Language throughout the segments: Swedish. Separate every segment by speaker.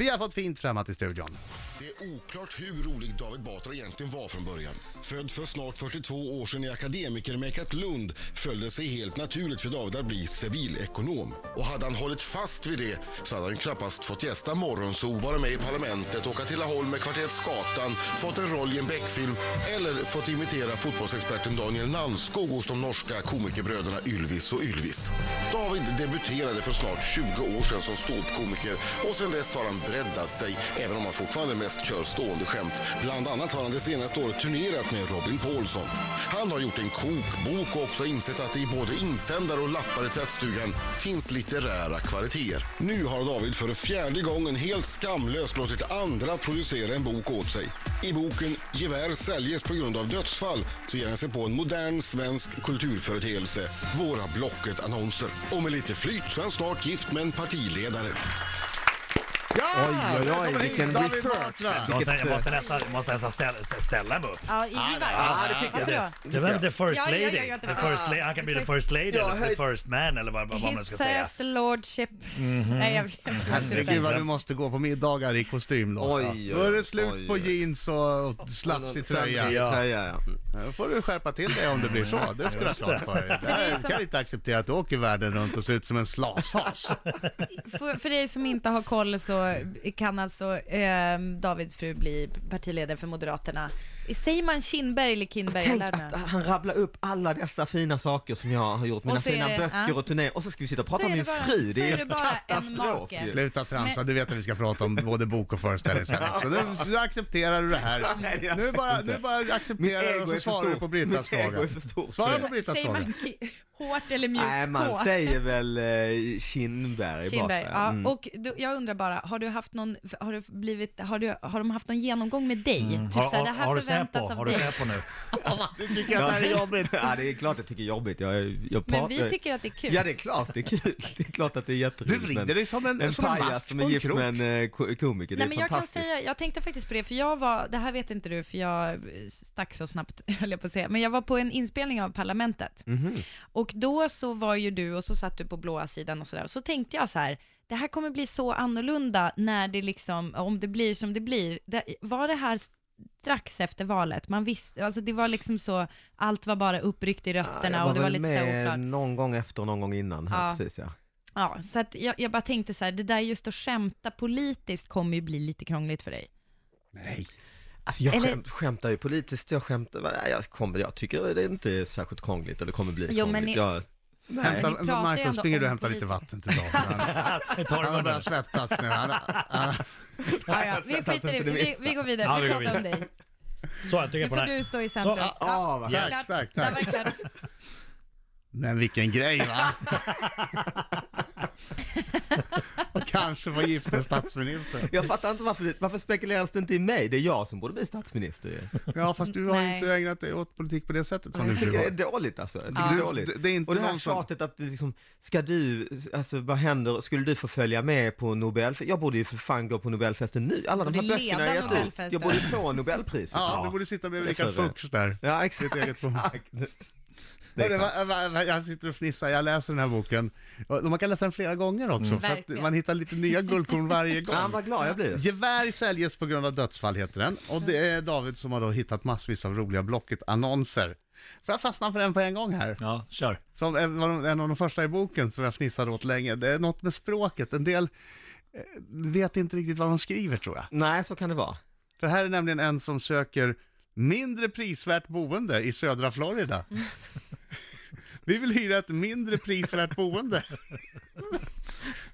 Speaker 1: Vi har fått fint främmat i studion.
Speaker 2: Det är oklart hur rolig David Batra egentligen var från början. Född för snart 42 år sedan i akademikermäkat Lund föll det sig helt naturligt för David att bli civilekonom. Och hade han hållit fast vid det så hade han knappast fått gästa Morgonzoo, vara med i Parlamentet, åka till Laholm med kvarteret Skatan, fått en roll i en Beck-film eller fått imitera fotbollsexperten Daniel Nanskog hos de norska komikerbröderna Ylvis och Ylvis. David debuterade för snart 20 år sedan som ståuppkomiker och sedan dess har han breddat sig, även om han fortfarande mest kör stående skämt. Bland annat har han det senaste året turnerat med Robin Paulsson. Han har gjort en kokbok och också insett att det i både insändare och lappar i tvättstugan finns litterära kvaliteter. Nu har David för fjärde gången helt skamlöst låtit andra producera en bok åt sig. I boken Gevär säljes på grund av dödsfall så ger han sig på en modern svensk kulturföreteelse, våra Blocket-annonser. Och med lite flyt så är han snart gift med en partiledare.
Speaker 1: Ja!
Speaker 3: Oj, oj, oj,
Speaker 1: Välkommen hit,
Speaker 3: vilken
Speaker 1: David
Speaker 3: research.
Speaker 1: Batra.
Speaker 3: Vilket,
Speaker 4: Måste, jag måste
Speaker 3: eh,
Speaker 4: nästan, måste nästan ställa, ställa en bok.
Speaker 5: Ja, i Ivar.
Speaker 1: Ja, det tycker jag.
Speaker 5: Varför då?
Speaker 4: Det var the first
Speaker 5: Ja, ja, ja,
Speaker 4: lady.
Speaker 5: ja,
Speaker 4: the
Speaker 5: det var-
Speaker 4: first la- han kan bli the first lady
Speaker 3: Ja,
Speaker 4: eller
Speaker 3: höj-
Speaker 4: the first man eller vad, vad man
Speaker 5: His
Speaker 4: ska säga.
Speaker 5: first lordship. Nej, jag vet inte.
Speaker 1: Herregud vad du måste gå på middagar i kostym då.
Speaker 3: Oj, oj,
Speaker 1: då är det slut
Speaker 3: oj,
Speaker 1: på
Speaker 3: oj.
Speaker 1: jeans och, och slafsig tröja.
Speaker 3: Ja.
Speaker 4: Ja.
Speaker 3: tröja ja. Mm.
Speaker 1: Då får du skärpa till dig om det blir så. Det ska du ha klart för dig. Jag kan inte acceptera att du åker världen runt och ser ut som en slashas.
Speaker 5: För, för dig som inte har koll så kan alltså eh, Davids fru bli partiledare för Moderaterna. Säger man Kinberg eller Kinberg?
Speaker 3: Tänk
Speaker 5: Jag lär mig.
Speaker 3: att han rabblar upp alla dessa fina saker som jag har gjort, mina
Speaker 5: Och så är
Speaker 3: fina
Speaker 5: det-
Speaker 3: böcker
Speaker 5: ja.
Speaker 3: och turnéer och så ska vi sitta och prata
Speaker 5: Så
Speaker 3: om
Speaker 5: är
Speaker 3: min
Speaker 5: det bara-
Speaker 3: fru,
Speaker 5: så
Speaker 3: det är
Speaker 5: är
Speaker 3: ju
Speaker 5: det bara en
Speaker 3: katastrof
Speaker 5: make.
Speaker 3: ju.
Speaker 1: Sluta tramsa, du vet att vi ska prata om både bok och föreställningssändning. Så nu, nu accepterar du det här.
Speaker 3: Nej, jag
Speaker 1: Nu
Speaker 3: vet
Speaker 1: bara,
Speaker 3: inte.
Speaker 1: nu bara
Speaker 3: Mitt
Speaker 1: accepterar du och
Speaker 3: ego
Speaker 1: så
Speaker 3: är för
Speaker 1: svarar du
Speaker 3: stort.
Speaker 1: på Brittas
Speaker 3: Mitt ego
Speaker 1: fråga.
Speaker 3: är för stort.
Speaker 1: Svara
Speaker 3: för
Speaker 1: på
Speaker 3: det.
Speaker 1: Brittas
Speaker 5: Säger
Speaker 1: fråga.
Speaker 5: man ki- hårt eller mjukt
Speaker 3: Nej, man
Speaker 5: K?
Speaker 3: säger väl eh, Kinberg
Speaker 5: Kinberg,
Speaker 3: bara. Mm.
Speaker 5: ja. Och du, jag undrar bara, har du haft någon, har du blivit, har, du, har de haft någon genomgång med dig? Typ
Speaker 4: Mm. Har,
Speaker 5: såhär,
Speaker 4: har,
Speaker 5: det här
Speaker 4: har du sett på?
Speaker 5: förväntas
Speaker 4: Har
Speaker 5: av
Speaker 4: du
Speaker 5: dig.
Speaker 4: sett på nu?
Speaker 1: Du tycker att det här är jobbigt.
Speaker 3: ja, det är klart jag tycker det är jobbigt. Jag, jag
Speaker 5: Men
Speaker 3: pratar-
Speaker 5: vi tycker att det är kul.
Speaker 3: Ja, det är klart det är kul. Det är klart att det är
Speaker 1: Du
Speaker 3: jätteroligt. men-
Speaker 1: vrider dig som en,
Speaker 3: En
Speaker 1: som en
Speaker 3: pajas
Speaker 1: mask
Speaker 3: som
Speaker 1: på
Speaker 3: är
Speaker 1: en
Speaker 3: gift
Speaker 1: krok.
Speaker 3: med en eh, ko- komiker, det
Speaker 5: Nej
Speaker 3: är
Speaker 5: men jag kan
Speaker 3: fantastiskt.
Speaker 5: säga, jag tänkte faktiskt på det, för jag var, det här vet inte du, för jag eh, stack så snabbt, höll jag på att säga, men jag var på en inspelning av Parlamentet.
Speaker 3: Mhm.
Speaker 5: Och då så var ju du, och så satt du på blåa sidan och sådär, och så tänkte jag så här, det här kommer bli så annorlunda när det liksom, om det blir som det blir. Det, var det här strax efter valet? Man visste, alltså det var liksom så, allt var bara uppryckt i rötterna
Speaker 3: jag
Speaker 5: och det var
Speaker 3: väl
Speaker 5: lite så här
Speaker 3: med
Speaker 5: oklart.
Speaker 3: någon gång efter och någon gång innan här,
Speaker 5: Ja.
Speaker 3: precis ja.
Speaker 5: Ja, så att jag, jag bara tänkte så här, det där just att skämta politiskt kommer ju bli lite krångligt för dig.
Speaker 1: Nej.
Speaker 3: Alltså jag
Speaker 5: Eller-
Speaker 3: skämt, skämtar ju politiskt, jag skämtar, nej, jag, kommer, jag tycker det är inte är särskilt krångligt eller kommer bli
Speaker 5: Jo, men
Speaker 3: krångligt.
Speaker 5: ni-
Speaker 3: Jag, nej.
Speaker 1: Hämta,
Speaker 5: Men vi pratar ju
Speaker 1: Marco,
Speaker 5: ändå
Speaker 1: springer du och
Speaker 5: om
Speaker 1: hämtar lite
Speaker 5: politiker.
Speaker 1: vatten till David.
Speaker 4: Det tar
Speaker 1: Han har
Speaker 4: en
Speaker 1: börjat
Speaker 4: minut.
Speaker 1: svettas nu. Han, han,
Speaker 5: Ja, ja. Vi skiter i det, vi, vi går vidare.
Speaker 4: Ja,
Speaker 5: vi
Speaker 4: vi går
Speaker 5: pratar om dig.
Speaker 4: Så, jag tycker
Speaker 5: Nu
Speaker 4: på
Speaker 5: får
Speaker 4: den. här.
Speaker 5: du stå i centrum.
Speaker 4: Så, ja.
Speaker 3: Ah, vad
Speaker 4: Yes.
Speaker 1: tack,
Speaker 5: Klart.
Speaker 1: tack,
Speaker 5: Där var
Speaker 1: tack.
Speaker 5: det klart.
Speaker 1: Men vilken grej va? och kanske få gifta statsminister.
Speaker 3: Jag fattar inte varför, varför spekuleras det inte i mig? Det är jag som borde bli statsminister ju.
Speaker 1: Ja fast du har
Speaker 5: Nej.
Speaker 1: inte ägnat dig åt politik på det sättet som
Speaker 3: Jag
Speaker 1: din
Speaker 3: tycker
Speaker 1: fru
Speaker 3: det är
Speaker 1: har.
Speaker 3: dåligt alltså. Jag tycker
Speaker 1: Du-
Speaker 3: det är dåligt.
Speaker 1: det- det är inte
Speaker 3: och det här
Speaker 1: någon som-
Speaker 3: tjatet att det liksom, ska du, alltså vad händer, skulle du få följa med på Nobelfesten? Jag borde ju för fan gå på Nobelfesten nu, alla de
Speaker 5: Du
Speaker 3: här
Speaker 5: borde
Speaker 3: böckerna
Speaker 5: leda
Speaker 3: jag gett ut.
Speaker 5: Nobelfesten.
Speaker 3: Jag borde få Nobelpriset.
Speaker 1: Ja,
Speaker 4: Ja.
Speaker 1: du borde sitta bredvid
Speaker 3: Det är
Speaker 1: Rickard
Speaker 3: för det.
Speaker 1: Fuchs där.
Speaker 3: Ja, exakt.
Speaker 1: Ditt eget program.
Speaker 3: exakt. Det är
Speaker 1: Hörru,
Speaker 3: skönt.
Speaker 1: va, va, va, jag sitter och fnissar, jag läser den här boken. Och Man kan läsa den flera gånger också, för att
Speaker 5: Verkligen.
Speaker 1: man hittar lite nya guldkorn varje gång.
Speaker 3: Ja, vad glad jag blir.
Speaker 1: Gevär säljes på grund av dödsfall heter den och det är David som har då hittat massvis av roliga Blocket-annonser. För jag fastnar för en på en gång här,
Speaker 4: Ja, kör.
Speaker 1: som är- var de- en av de första i boken som jag fnissade åt länge. Det är något med språket, en del eh, vet inte riktigt vad de skriver tror jag.
Speaker 3: Nej, så kan det vara.
Speaker 1: För här är nämligen en som söker mindre prisvärt boende i södra Florida.
Speaker 4: Mm.
Speaker 1: Vi vill hyra ett mindre prisvärt boende.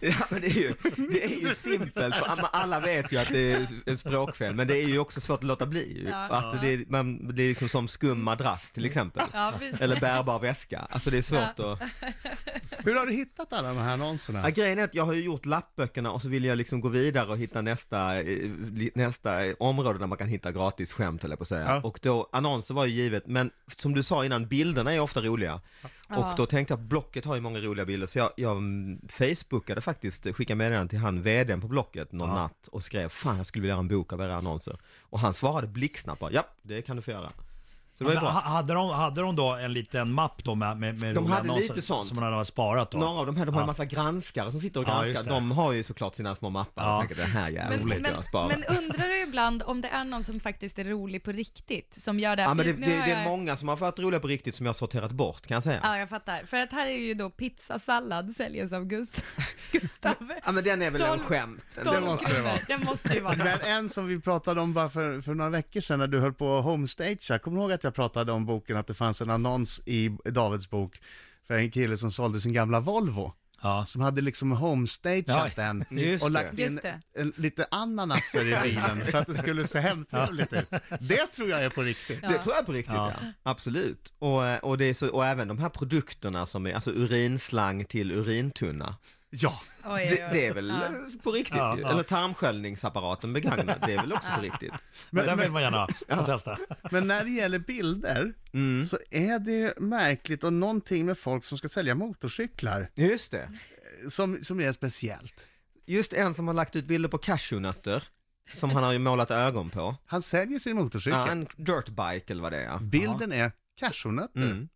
Speaker 3: Ja, men det är ju, det är ju simpelt, för alla- alla vet ju att det är ett språkfel, men det är ju också svårt att låta bli. ju.
Speaker 5: Ja.
Speaker 3: Att det, är, man, det är liksom som skum madrass till exempel,
Speaker 5: Ja, precis.
Speaker 3: eller bärbar väska. Alltså det är svårt att...
Speaker 1: Hur har du hittat alla de här annonserna?
Speaker 3: Ja, grejen är att jag har ju gjort lappböckerna och så vill jag liksom gå vidare och hitta nästa, eh, li- nästa eh, område där man kan hitta gratis skämt höll jag på att säga.
Speaker 1: Ja.
Speaker 3: Och då, annonser var ju givet, men som du sa innan, bilderna är ofta roliga. Och då tänkte jag, Blocket har ju många roliga bilder, så jag, jag mm, facebookade faktiskt, eh, skickade meddelanden till han, vdn på Blocket någon natt och skrev, fan jag skulle vilja göra en bok av era annonser. Och han svarade blixtsnabbt bara, ja det kan du få göra. Så det var ju
Speaker 4: Men
Speaker 3: bra.
Speaker 4: ha- hade, de, hade de då en liten mapp då med, med, med
Speaker 3: De
Speaker 4: roliga
Speaker 3: hade
Speaker 4: annonser
Speaker 3: lite sånt.
Speaker 4: Som man hade sparat då?
Speaker 3: Några av de här, de har en
Speaker 4: Ja.
Speaker 3: massa granskare som sitter och
Speaker 4: Ja,
Speaker 3: granskar.
Speaker 4: just det.
Speaker 3: de har ju såklart sina små mappar.
Speaker 4: Ja.
Speaker 3: Jag tänker, det här jävlar
Speaker 5: Men,
Speaker 3: måste
Speaker 5: men,
Speaker 3: jag spara.
Speaker 5: men undrar du ibland om det är någon som faktiskt är rolig på riktigt, som gör det här?
Speaker 3: ja, men det,
Speaker 5: För
Speaker 3: det,
Speaker 5: nu har
Speaker 3: det är
Speaker 5: jag-
Speaker 3: många som har varit roliga på riktigt som jag har sorterat bort kan jag säga.
Speaker 5: Ja, jag fattar. För att här är ju då pizzasallad säljes av Gust- Gustav.
Speaker 3: Ja men den är väl en
Speaker 5: Tolv-
Speaker 3: skämt.
Speaker 5: Tolv
Speaker 1: måste det
Speaker 5: kronor.
Speaker 1: vara.
Speaker 5: Det måste ju vara det.
Speaker 1: Men en som vi pratade om bara för, för några veckor sedan när du höll på att homestagea. Kommer du ihåg att jag pratade om boken, att det fanns en annons i Davids bok för en kille som sålde sin gamla Volvo.
Speaker 4: Ja.
Speaker 1: Som hade liksom homestageat
Speaker 4: Ja,
Speaker 1: den
Speaker 3: just
Speaker 1: och
Speaker 3: det.
Speaker 1: lagt in
Speaker 5: Just det.
Speaker 1: en, lite ananaser i bilen för att det skulle se hemtrevligt ut. Det tror jag är på riktigt.
Speaker 3: Det tror jag på riktigt ja.
Speaker 4: Ja.
Speaker 3: Absolut. Och, eh, och, det är så, och även de här produkterna som är, alltså urinslang till urintunna.
Speaker 1: Ja,
Speaker 5: Oj, oj, oj.
Speaker 3: Det, det är väl
Speaker 5: Ja.
Speaker 3: eh, på riktigt
Speaker 4: Ja,
Speaker 3: ju.
Speaker 4: ja.
Speaker 3: Eller tarmsköljningsapparaten begagnad, det är väl också på riktigt.
Speaker 4: Men, den vill
Speaker 1: men,
Speaker 4: man gärna ha och testa.
Speaker 1: men när det gäller bilder så är det märkligt och någonting med folk som ska sälja motorcyklar
Speaker 3: Just det.
Speaker 1: som, som är speciellt.
Speaker 3: Just en som har lagt ut bilder på cashewnötter, som han har ju målat ögon på.
Speaker 1: Han säljer sin motorcykel.
Speaker 3: Ja, en dirtbike eller vad det är.
Speaker 1: Bilden är cashewnötter.
Speaker 3: Mm.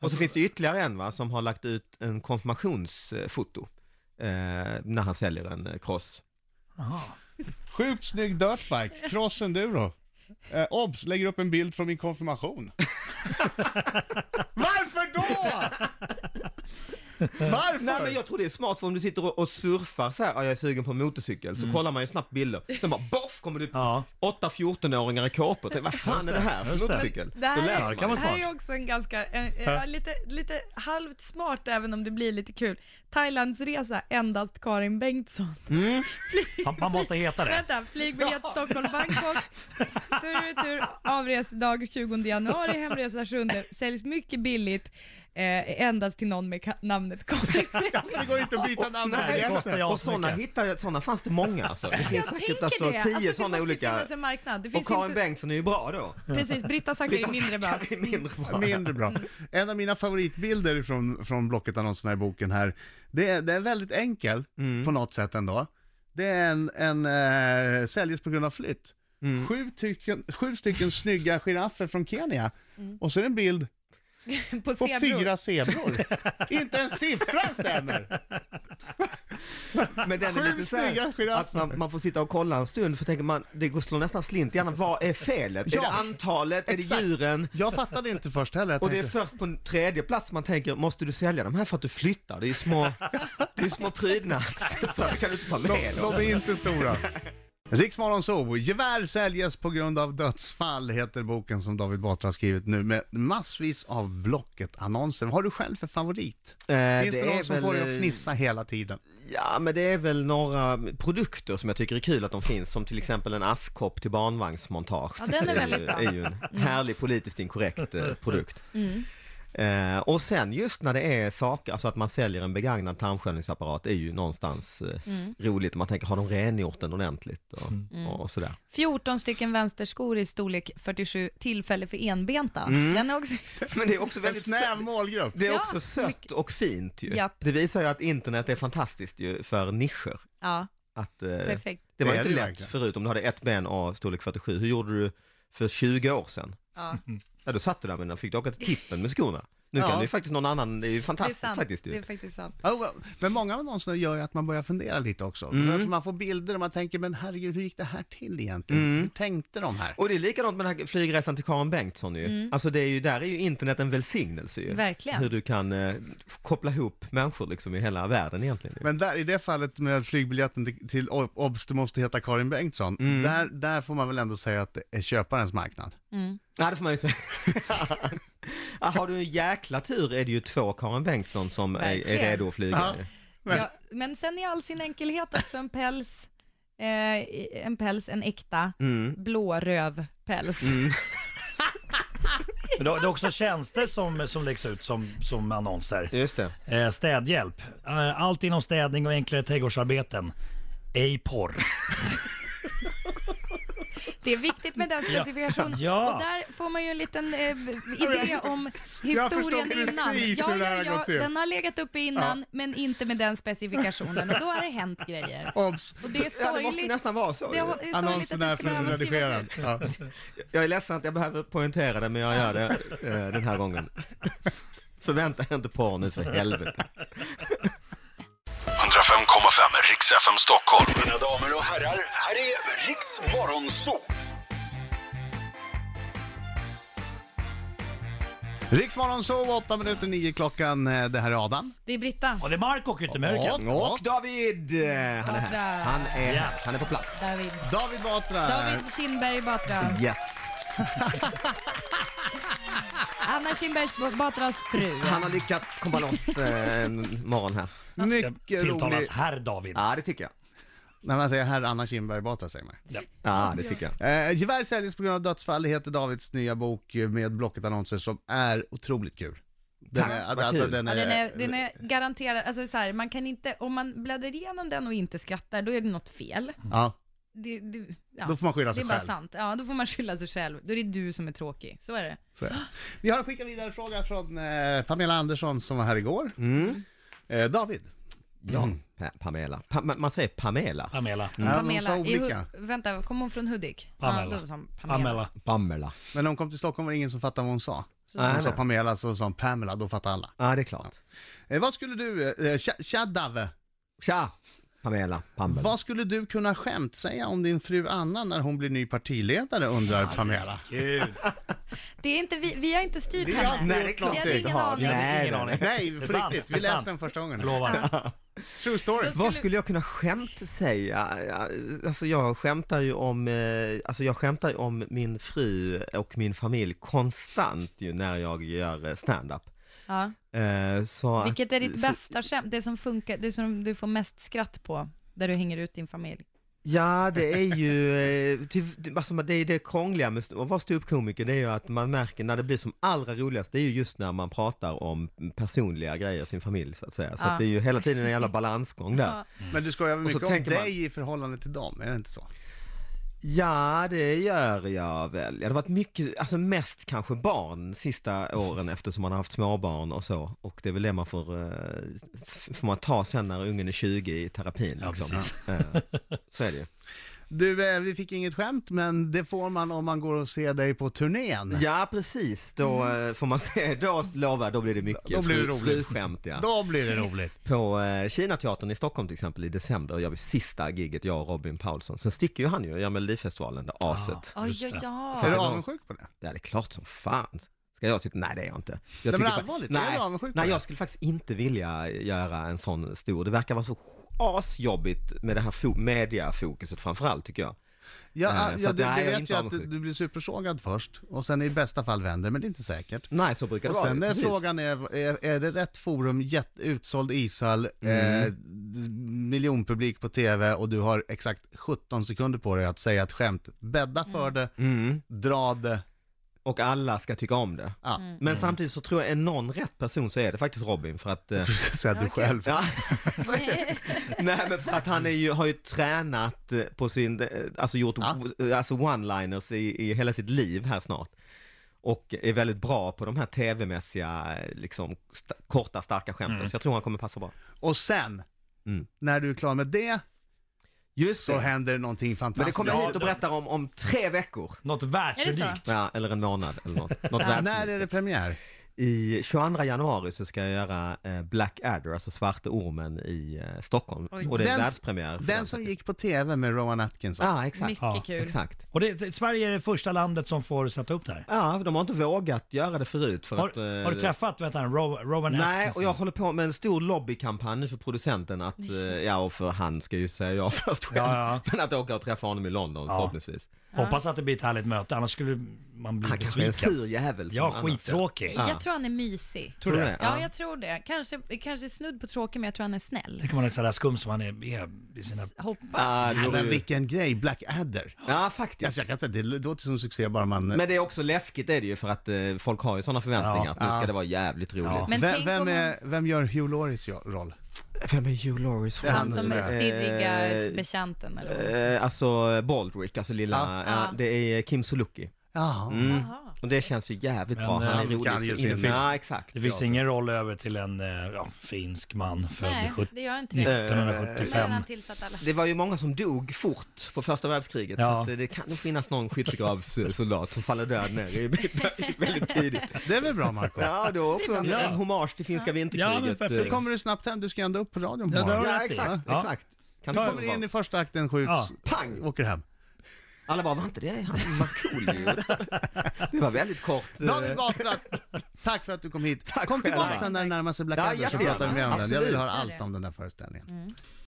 Speaker 3: Och så finns det ytterligare en va, som har lagt ut en konfirmationsfoto. Eh, när han säljer en eh, cross.
Speaker 1: Sjukt snygg dirtbike, cross enduro. Eh, obs, lägger upp en bild från min konfirmation. Varför då? Varför?
Speaker 3: Nej men jag tror det är smart för om du sitter och- och surfar så här, "Ja, jag är sugen på en motorcykel, så kollar man ju snabbt bilder. Sen bara boff kommer det upp
Speaker 4: Ja.
Speaker 3: åtta 14-åringar i kåpor. Tänk, Vad fan är det här för
Speaker 4: just det.
Speaker 3: motorcykel?
Speaker 5: Det här,
Speaker 3: Då läser
Speaker 5: är,
Speaker 3: man
Speaker 4: det kan vara
Speaker 5: det här
Speaker 4: smart.
Speaker 5: är också en ganska, eh, eh, ja, lite, lite halvt smart även om det blir lite kul. Thailandsresa, endast Karin Bengtsson.
Speaker 3: Äh.
Speaker 4: Man, man måste heta det.
Speaker 5: Vänta, flygbiljett Stockholm-Bangkok. Tur och retur, avresedag 20 januari, hemresa 7. Säljs mycket billigt, eh, endast till någon med ka- namnet Karin
Speaker 1: Det
Speaker 5: Bengtsson.
Speaker 1: går inte att byta namn på
Speaker 4: det
Speaker 1: biljetten.
Speaker 4: kostar jag
Speaker 3: och sådana
Speaker 4: asmycket.
Speaker 3: hittade, sådana fanns det många alltså. Det finns säkert alltså
Speaker 5: det.
Speaker 3: tio
Speaker 5: det
Speaker 3: sådana
Speaker 5: måste
Speaker 3: olika.
Speaker 5: finnas en marknad. Det
Speaker 3: Och
Speaker 5: finns
Speaker 3: Karin
Speaker 5: inte,
Speaker 3: Bengtsson är ju bra då.
Speaker 5: precis, Britta Zackari är mindre bra.
Speaker 3: Det är mindre bra.
Speaker 1: Mindre bra. En av mina favoritbilder från, från Blocket-annonserna i boken här, det är, det är väldigt enkel på något sätt ändå. Det är en, en eh, säljs på grund av flytt. Sju, tycken, sju stycken snygga giraffer från Kenya. Och så är det en bild
Speaker 5: På
Speaker 1: på
Speaker 5: zebror.
Speaker 1: fyra zebror. Inte en siffra stämmer!
Speaker 3: Men den är
Speaker 1: Sju
Speaker 3: lite så här,
Speaker 1: snygga giraffer.
Speaker 3: att man, man får sitta och kolla en stund för tänker man, det går slår nästan slint i hjärnan. Vad är felet?
Speaker 1: Ja.
Speaker 3: Är det antalet? Är
Speaker 1: Exakt.
Speaker 3: det djuren?
Speaker 1: Jag fattade inte först heller. Jag
Speaker 3: Och det är
Speaker 1: tänkte,
Speaker 3: först på en tredje plats man tänker, måste du sälja de här för att du flyttar? Det är ju små, det är små prydnadsfötter, kan du inte ta med
Speaker 1: de,
Speaker 3: dem?
Speaker 1: de är inte stora. Riksmorgon så, gevär säljes på grund av dödsfall heter boken som David Batra har skrivit nu med massvis av Blocket-annonser. Vad har du själv för favorit?
Speaker 3: Eh,
Speaker 1: Finns det, någon som får dig att fnissa hela tiden?
Speaker 3: Ja, men det är väl några produkter som jag tycker är kul att de finns, som till exempel en askkopp till barnvagnsmontage.
Speaker 5: Ja, den är
Speaker 3: ju-
Speaker 5: väldigt bra. Mm.
Speaker 3: är ju en härlig politiskt inkorrekt eh, produkt. Eh, och sen just när det är saker, alltså att man säljer en begagnad tarmsköljningsapparat är ju någonstans eh,
Speaker 5: Mm.
Speaker 3: roligt. Man tänker, har de rengjort den ordentligt? Och, och sådär.
Speaker 5: 14 stycken vänsterskor i storlek 47, tillfälle för enbenta.
Speaker 3: Mm.
Speaker 5: Den är också...
Speaker 3: Men det är också
Speaker 1: En
Speaker 3: väldigt
Speaker 1: snäv målgrupp.
Speaker 3: Det är
Speaker 5: Ja,
Speaker 3: också sött och fint ju.
Speaker 5: Japp.
Speaker 3: Det visar ju att internet är fantastiskt ju för nischer.
Speaker 5: Ja,
Speaker 3: Att, eh, det
Speaker 5: perfekt.
Speaker 3: var
Speaker 1: Det är
Speaker 3: inte
Speaker 1: det ju
Speaker 3: lätt
Speaker 1: verkligen.
Speaker 3: förut om du hade ett ben och storlek 47. Hur gjorde du för 20 år sedan?
Speaker 5: Ja.
Speaker 3: Ja, då satt du där med den och fick du åka till tippen med skorna. Nu
Speaker 1: Ja.
Speaker 3: kan du ju faktiskt någon annan, det är ju
Speaker 5: Det är
Speaker 3: fantastiskt
Speaker 5: sant.
Speaker 3: faktiskt
Speaker 5: det är
Speaker 3: ju.
Speaker 5: faktiskt sant.
Speaker 1: Ja, well, Men många av annonserna gör ju att man börjar fundera lite också.
Speaker 3: Mm.
Speaker 1: För man får bilder och man tänker, men herregud, hur gick det här till egentligen?
Speaker 3: Mm.
Speaker 1: Hur tänkte de här?
Speaker 3: Och det är likadant med den här flygresan till Karin Bengtsson ju. Alltså det är ju, där är ju internet en välsignelse ju.
Speaker 5: Mm. Verkligen.
Speaker 3: Hur du kan eh, koppla ihop människor liksom i hela världen egentligen. Ju.
Speaker 1: Men där, i det fallet med flygbiljetten till, till Ob- Obs, du måste heta Karin Bengtsson,
Speaker 5: Mm.
Speaker 1: där, där får man väl ändå säga att det är köparens marknad.
Speaker 3: Ja, det får man ju säga. Ja, Har du en jäkla tur är det ju två Karin Bengtsson som är, är
Speaker 5: Verkligen.
Speaker 3: redo att flyga.
Speaker 1: Ja. Men-
Speaker 5: Ja, men sen i all sin enkelhet också en päls, eh, en päls, en äkta
Speaker 3: Mm.
Speaker 5: blårövpäls.
Speaker 4: Men Det det är också tjänster som, som läggs ut som, som annonser.
Speaker 3: Just det.
Speaker 4: Eh, städhjälp. Eh, allt inom städning och enklare trädgårdsarbeten. Ej porr.
Speaker 5: Det är viktigt med den specifikationen.
Speaker 4: Ja.
Speaker 5: Och där får man ju en liten eh, idé om
Speaker 1: Jag förstår
Speaker 5: historien
Speaker 1: precis
Speaker 5: innan.
Speaker 1: hur det här har gått till.
Speaker 5: Den har legat uppe innan, men inte med den specifikationen. Och då har det hänt grejer.
Speaker 1: Obs!
Speaker 5: Och det är
Speaker 3: Ja, det måste
Speaker 5: sorgligt.
Speaker 3: nästan vara så.
Speaker 5: Det
Speaker 3: ju.
Speaker 5: har- det är sorgligt
Speaker 1: Annonsen är
Speaker 5: att det ska behöva skrivas
Speaker 1: färdigredigerad.
Speaker 5: ut.
Speaker 1: Ja.
Speaker 3: Jag är ledsen att jag behöver poängtera det, men jag gör det eh, den här gången. Förvänta er inte porr nu för helvete.
Speaker 6: 105,5 Riks FM Stockholm. Mina damer och herrar, här är Riks Morgonzoo.
Speaker 1: Riksmorgon sov 8 minuter 9 klockan. Eh, Det här är Adam.
Speaker 5: Det är Britta.
Speaker 4: Och det är Mark och Yttermörker.
Speaker 3: Och David! eh, Han är här. Han är,
Speaker 4: Ja.
Speaker 3: han är på plats.
Speaker 5: David.
Speaker 1: David Batra.
Speaker 5: David Kindberg Batra.
Speaker 3: Yes.
Speaker 5: Anna Kinberg Batras fru.
Speaker 3: Han eh, har lyckats komma loss eh, en morgon här.
Speaker 1: Mycket rolig.
Speaker 4: Tilltalas herr David.
Speaker 3: Ja, det tycker jag.
Speaker 1: När man säger herr Anna Kinberg Batra säger man.
Speaker 3: Ja, det tycker jag.
Speaker 1: Eh, gevär säljs på grund av dödsfall heter Davids nya bok med Blocket-annonser som är otroligt kul. Den
Speaker 3: Tack,
Speaker 1: är,
Speaker 3: vad kul.
Speaker 5: Ja, den, är, den är garanterad, alltså så här, man kan inte, om man bläddrar igenom den och inte skrattar, då är det något fel.
Speaker 1: ja,
Speaker 5: Det, det, ja.
Speaker 1: då får man skylla
Speaker 5: det
Speaker 1: sig
Speaker 5: är bara
Speaker 1: själv.
Speaker 5: sant. Ja, då får man skylla sig själv. Då är det du som är tråkig. Så är det.
Speaker 1: Så är det. Vi har skickat vidare en fråga från eh, Pamela Andersson som var här igår.
Speaker 3: Mm.
Speaker 1: Eh, David.
Speaker 3: Ja, Mm, Pa- Pamela. Pa- ma- man säger Pamela.
Speaker 4: Pamela.
Speaker 1: Ja, de sa
Speaker 5: i Hu-
Speaker 1: olika.
Speaker 5: vänta, kom hon från Hudik?
Speaker 4: Pamela.
Speaker 5: Ja, då sa hon Pamela.
Speaker 4: Pamela.
Speaker 3: Pamela.
Speaker 1: Men när hon kom till Stockholm var det ingen som fattade vad hon sa.
Speaker 3: Nej,
Speaker 1: Hon sa
Speaker 3: nej.
Speaker 1: Pamela, så sa hon Pamela, då fattade alla.
Speaker 3: Ja, det är klart.
Speaker 1: Eh, vad skulle du, eh, tja, tja Dave,
Speaker 3: Tja! Pamela. Pamela.
Speaker 1: vad skulle du kunna skämtsäga om din fru Anna när hon blir ny partiledare undrar Pamela.
Speaker 4: Gud.
Speaker 5: Det är inte vi, vi har inte styrt
Speaker 1: Vi har
Speaker 5: henne.
Speaker 1: inte
Speaker 3: Nej, det är klart
Speaker 5: Jag
Speaker 3: du
Speaker 5: hade
Speaker 3: inte
Speaker 5: ingen
Speaker 3: har.
Speaker 5: aning.
Speaker 3: Nej,
Speaker 4: Ingen
Speaker 3: nej,
Speaker 4: aning.
Speaker 3: nej.
Speaker 1: Nej,
Speaker 4: Det är
Speaker 1: på
Speaker 4: sant,
Speaker 1: riktigt,
Speaker 4: det
Speaker 1: vi
Speaker 4: är sant.
Speaker 1: läste den första gången.
Speaker 4: Jag Lovar.
Speaker 1: True story.
Speaker 5: Då
Speaker 3: Vad skulle jag kunna skämt säga? Ja, Alltså jag skämtar ju om, eh, alltså jag skämtar ju om min fru och min familj konstant ju när jag gör eh, stand-up.
Speaker 5: Ja.
Speaker 3: Eh, Så
Speaker 5: Vilket är ditt
Speaker 3: så-
Speaker 5: bästa skämt? Det som funkar, det som du får mest skratt på, där du hänger ut din familj?
Speaker 3: Ja, det är ju eh, ty- det- alltså, det, är det krångliga med st- att vara ståuppkomiker, det är ju att man märker när det blir som allra roligast, det är ju just när man pratar om personliga grejer, sin familj så att säga. Så
Speaker 5: Ja.
Speaker 3: att det är ju hela tiden en jävla balansgång där.
Speaker 5: Ja.
Speaker 1: Men du skojar väl
Speaker 3: Och så
Speaker 1: mycket om
Speaker 3: tänker man-
Speaker 1: dig i förhållande till dem, är det inte så?
Speaker 3: Ja, det gör jag väl. Det har varit mycket, alltså mest kanske barn sista åren eftersom man har haft småbarn och så. Och det är väl det man får, eh, s- får man ta sen när ungen är 20 i terapin.
Speaker 4: Ja,
Speaker 3: Liksom.
Speaker 4: precis.
Speaker 3: Eh, Så är det ju.
Speaker 1: Du, eh, vi fick inget skämt, men det får man om man går och ser dig på turnén.
Speaker 3: Ja, precis. Då eh, får man se, då lovar jag, då blir det mycket.
Speaker 1: Mm. Då blir det
Speaker 3: Fru-
Speaker 1: roligt.
Speaker 3: Fruskämt, ja.
Speaker 1: Då blir det roligt.
Speaker 3: På eh, Kinateatern i Stockholm till exempel i december gör vi sista giget, jag och Robin Paulsson. Sen sticker ju han ju och gör Melodifestivalen, det
Speaker 1: Ah.
Speaker 3: aset.
Speaker 5: Oj, oj, oj.
Speaker 1: Är du
Speaker 3: det var-
Speaker 1: avundsjuk på det?
Speaker 3: Ja, det är klart som fan. Ska jag sitta? Nej, det är jag inte.
Speaker 1: Nej,
Speaker 3: Jag
Speaker 1: men
Speaker 3: tycker fa-
Speaker 1: allvarligt, är
Speaker 3: nej,
Speaker 1: du avundsjuk på
Speaker 3: nej,
Speaker 1: det?
Speaker 3: jag skulle faktiskt inte vilja göra en sån stor. Det verkar vara så asjobbigt med det här fo- mediafokuset framförallt tycker jag.
Speaker 1: Ja,
Speaker 3: Eh,
Speaker 1: ja,
Speaker 3: så
Speaker 1: ja
Speaker 3: att
Speaker 1: du,
Speaker 3: nej,
Speaker 1: du
Speaker 3: jag är
Speaker 1: vet
Speaker 3: inte
Speaker 1: ju att
Speaker 3: avundsjuk.
Speaker 1: du blir supersågad först och sen i bästa fall vänder, men det är inte säkert.
Speaker 3: Nej, så brukar det
Speaker 1: Och
Speaker 3: vara.
Speaker 1: sen är
Speaker 3: precis.
Speaker 1: frågan är, är, är det rätt forum, jätt, utsåld ishall,
Speaker 3: Mm.
Speaker 1: eh, d- miljonpublik på tv och du har exakt 17 sekunder på dig att säga ett skämt. Bädda för det,
Speaker 3: Mm.
Speaker 1: dra det.
Speaker 3: Och alla ska tycka om det.
Speaker 1: Ja.
Speaker 3: Men samtidigt så tror jag är någon rätt person så är det faktiskt Robin för att... eh,
Speaker 1: Så att du själv.
Speaker 3: Ja, så är det. Nej men för att han är ju, har ju tränat eh, på sin, eh, alltså gjort
Speaker 1: Ja.
Speaker 3: eh, alltså one-liners i, i hela sitt liv här snart. Och är väldigt bra på de här tv-mässiga, eh, liksom sta- korta starka skämten.
Speaker 1: Mm.
Speaker 3: Så jag tror han kommer passa bra.
Speaker 1: Och sen,
Speaker 3: Mm.
Speaker 1: när du är klar med det,
Speaker 3: Just
Speaker 1: så
Speaker 3: det.
Speaker 1: händer det någonting
Speaker 3: Men det
Speaker 1: fantastiskt.
Speaker 3: kommer jag hit och berättar om, om tre veckor.
Speaker 4: Något
Speaker 5: Är det
Speaker 4: världsunikt.
Speaker 3: Ja, eller en månad eller något. något
Speaker 1: När
Speaker 3: världsunikt.
Speaker 1: är det premiär?
Speaker 3: I 22 januari så ska jag göra eh, Black Adder, alltså Svarte Ormen i eh, Stockholm.
Speaker 5: Oj.
Speaker 3: Och det är
Speaker 1: Den-
Speaker 3: världspremiär. för
Speaker 1: Den som
Speaker 3: faktiskt.
Speaker 1: gick på tv med Rowan Atkinson.
Speaker 3: Ja, exakt.
Speaker 5: Mycket
Speaker 4: Ja,
Speaker 5: kul.
Speaker 3: Exakt.
Speaker 4: Och det, det- Sverige är det första landet som får sätta upp det här.
Speaker 3: Ja, de har inte vågat göra det förut för
Speaker 4: Har,
Speaker 3: att... eh,
Speaker 4: har du träffat vet han, Ro- Rowan
Speaker 3: Nej, och
Speaker 4: Atkinson?
Speaker 3: jag håller på med en stor lobbykampanj för producenten att, eh, ja och för han ska ju säga ja först själv.
Speaker 4: Ja, ja.
Speaker 3: Men att åka och träffa honom i London
Speaker 4: Ja. Mm.
Speaker 3: förhoppningsvis.
Speaker 4: Hoppas att det blir ett härligt möte, annars skulle man bli
Speaker 3: Han kanske är en
Speaker 4: besviken.
Speaker 3: sur jävel. som
Speaker 4: Ja,
Speaker 3: annars,
Speaker 4: skittråkig.
Speaker 3: Ja.
Speaker 5: Jag tror han är mysig.
Speaker 4: Tror du
Speaker 3: du
Speaker 4: det?
Speaker 3: det? Ja.
Speaker 5: Ja, jag tror det. Kanske, kanske snudd på tråkig, men jag tror han är snäll.
Speaker 4: Tänk om man är sådär skum som han är, är i sina...
Speaker 5: Hoppas.
Speaker 3: Ja, det
Speaker 1: Nej, men
Speaker 3: vore ju-
Speaker 1: vilken grej, Black Adder.
Speaker 3: ja,
Speaker 1: Alltså
Speaker 3: faktiskt.
Speaker 1: jag kan säga, det låter som succé bara man...
Speaker 3: Men det är också läskigt är det ju för att eh, folk har ju sådana förväntningar
Speaker 4: Ja.
Speaker 3: att nu
Speaker 1: Ja.
Speaker 3: ska det vara jävligt roligt.
Speaker 4: Ja.
Speaker 5: Men
Speaker 1: vem,
Speaker 5: tänk
Speaker 1: vem,
Speaker 5: om
Speaker 1: är, vem gör Hugh Lauries jo- roll?
Speaker 3: Vem är Hugh Lauries
Speaker 1: Det är
Speaker 5: Han som
Speaker 1: som
Speaker 5: är
Speaker 1: är-
Speaker 5: stirriga
Speaker 3: Eh,
Speaker 5: betjänten eller vad man säger.
Speaker 3: Eh, alltså Baldrick, alltså lilla,
Speaker 1: Ja.
Speaker 3: ja. det är Kim Sulocki.
Speaker 1: Ja.
Speaker 3: Mm.
Speaker 5: Jaha.
Speaker 3: Och det känns ju jävligt
Speaker 4: Men, eh,
Speaker 3: bra, han är
Speaker 4: han
Speaker 3: rolig.
Speaker 1: kan ju
Speaker 3: så
Speaker 1: sin
Speaker 3: in-
Speaker 1: fisk.
Speaker 3: Ja, exakt.
Speaker 4: Det finns
Speaker 3: Ja.
Speaker 4: ingen roll över till en eh, ja, finsk man född
Speaker 5: Nej,
Speaker 4: 70
Speaker 5: det gör inte det.
Speaker 4: 1975.
Speaker 5: Men han tillsatt alla.
Speaker 3: Det var ju många som dog fort på första världskriget så
Speaker 4: Ja.
Speaker 3: att eh, det kan nog finnas någon skyttegravssoldat som faller död ner i berg väldigt tidigt.
Speaker 1: Det är väl bra Marco?
Speaker 3: Ja, då också en,
Speaker 4: Ja.
Speaker 3: en hommage till finska
Speaker 4: Ja, men
Speaker 3: vinterkriget. Eh,
Speaker 4: perfekt.
Speaker 1: Så kommer du snabbt hem, du ska ändå upp på radion på
Speaker 4: Ja, det
Speaker 1: morgonen.
Speaker 4: har
Speaker 3: Ja,
Speaker 4: rätt i.
Speaker 3: exakt,
Speaker 4: Ja.
Speaker 3: exakt. Kan
Speaker 1: Du
Speaker 3: inte
Speaker 1: kommer
Speaker 3: vara-
Speaker 1: in i första akten, skjuts,
Speaker 4: Ja.
Speaker 3: Pang!
Speaker 1: åker hem.
Speaker 3: Alla bara, var inte det han Markoolio? Det var väldigt kort. eh,
Speaker 1: David Batra, tack för att du kom hit.
Speaker 3: Tack
Speaker 1: kom tillbaka
Speaker 3: själva.
Speaker 1: sen när det närmar sig Black
Speaker 3: Ja,
Speaker 1: Adder så
Speaker 3: jättegärna.
Speaker 1: pratar vi mer om den. Jag vill
Speaker 3: Absolut.
Speaker 1: höra allt om den där föreställningen.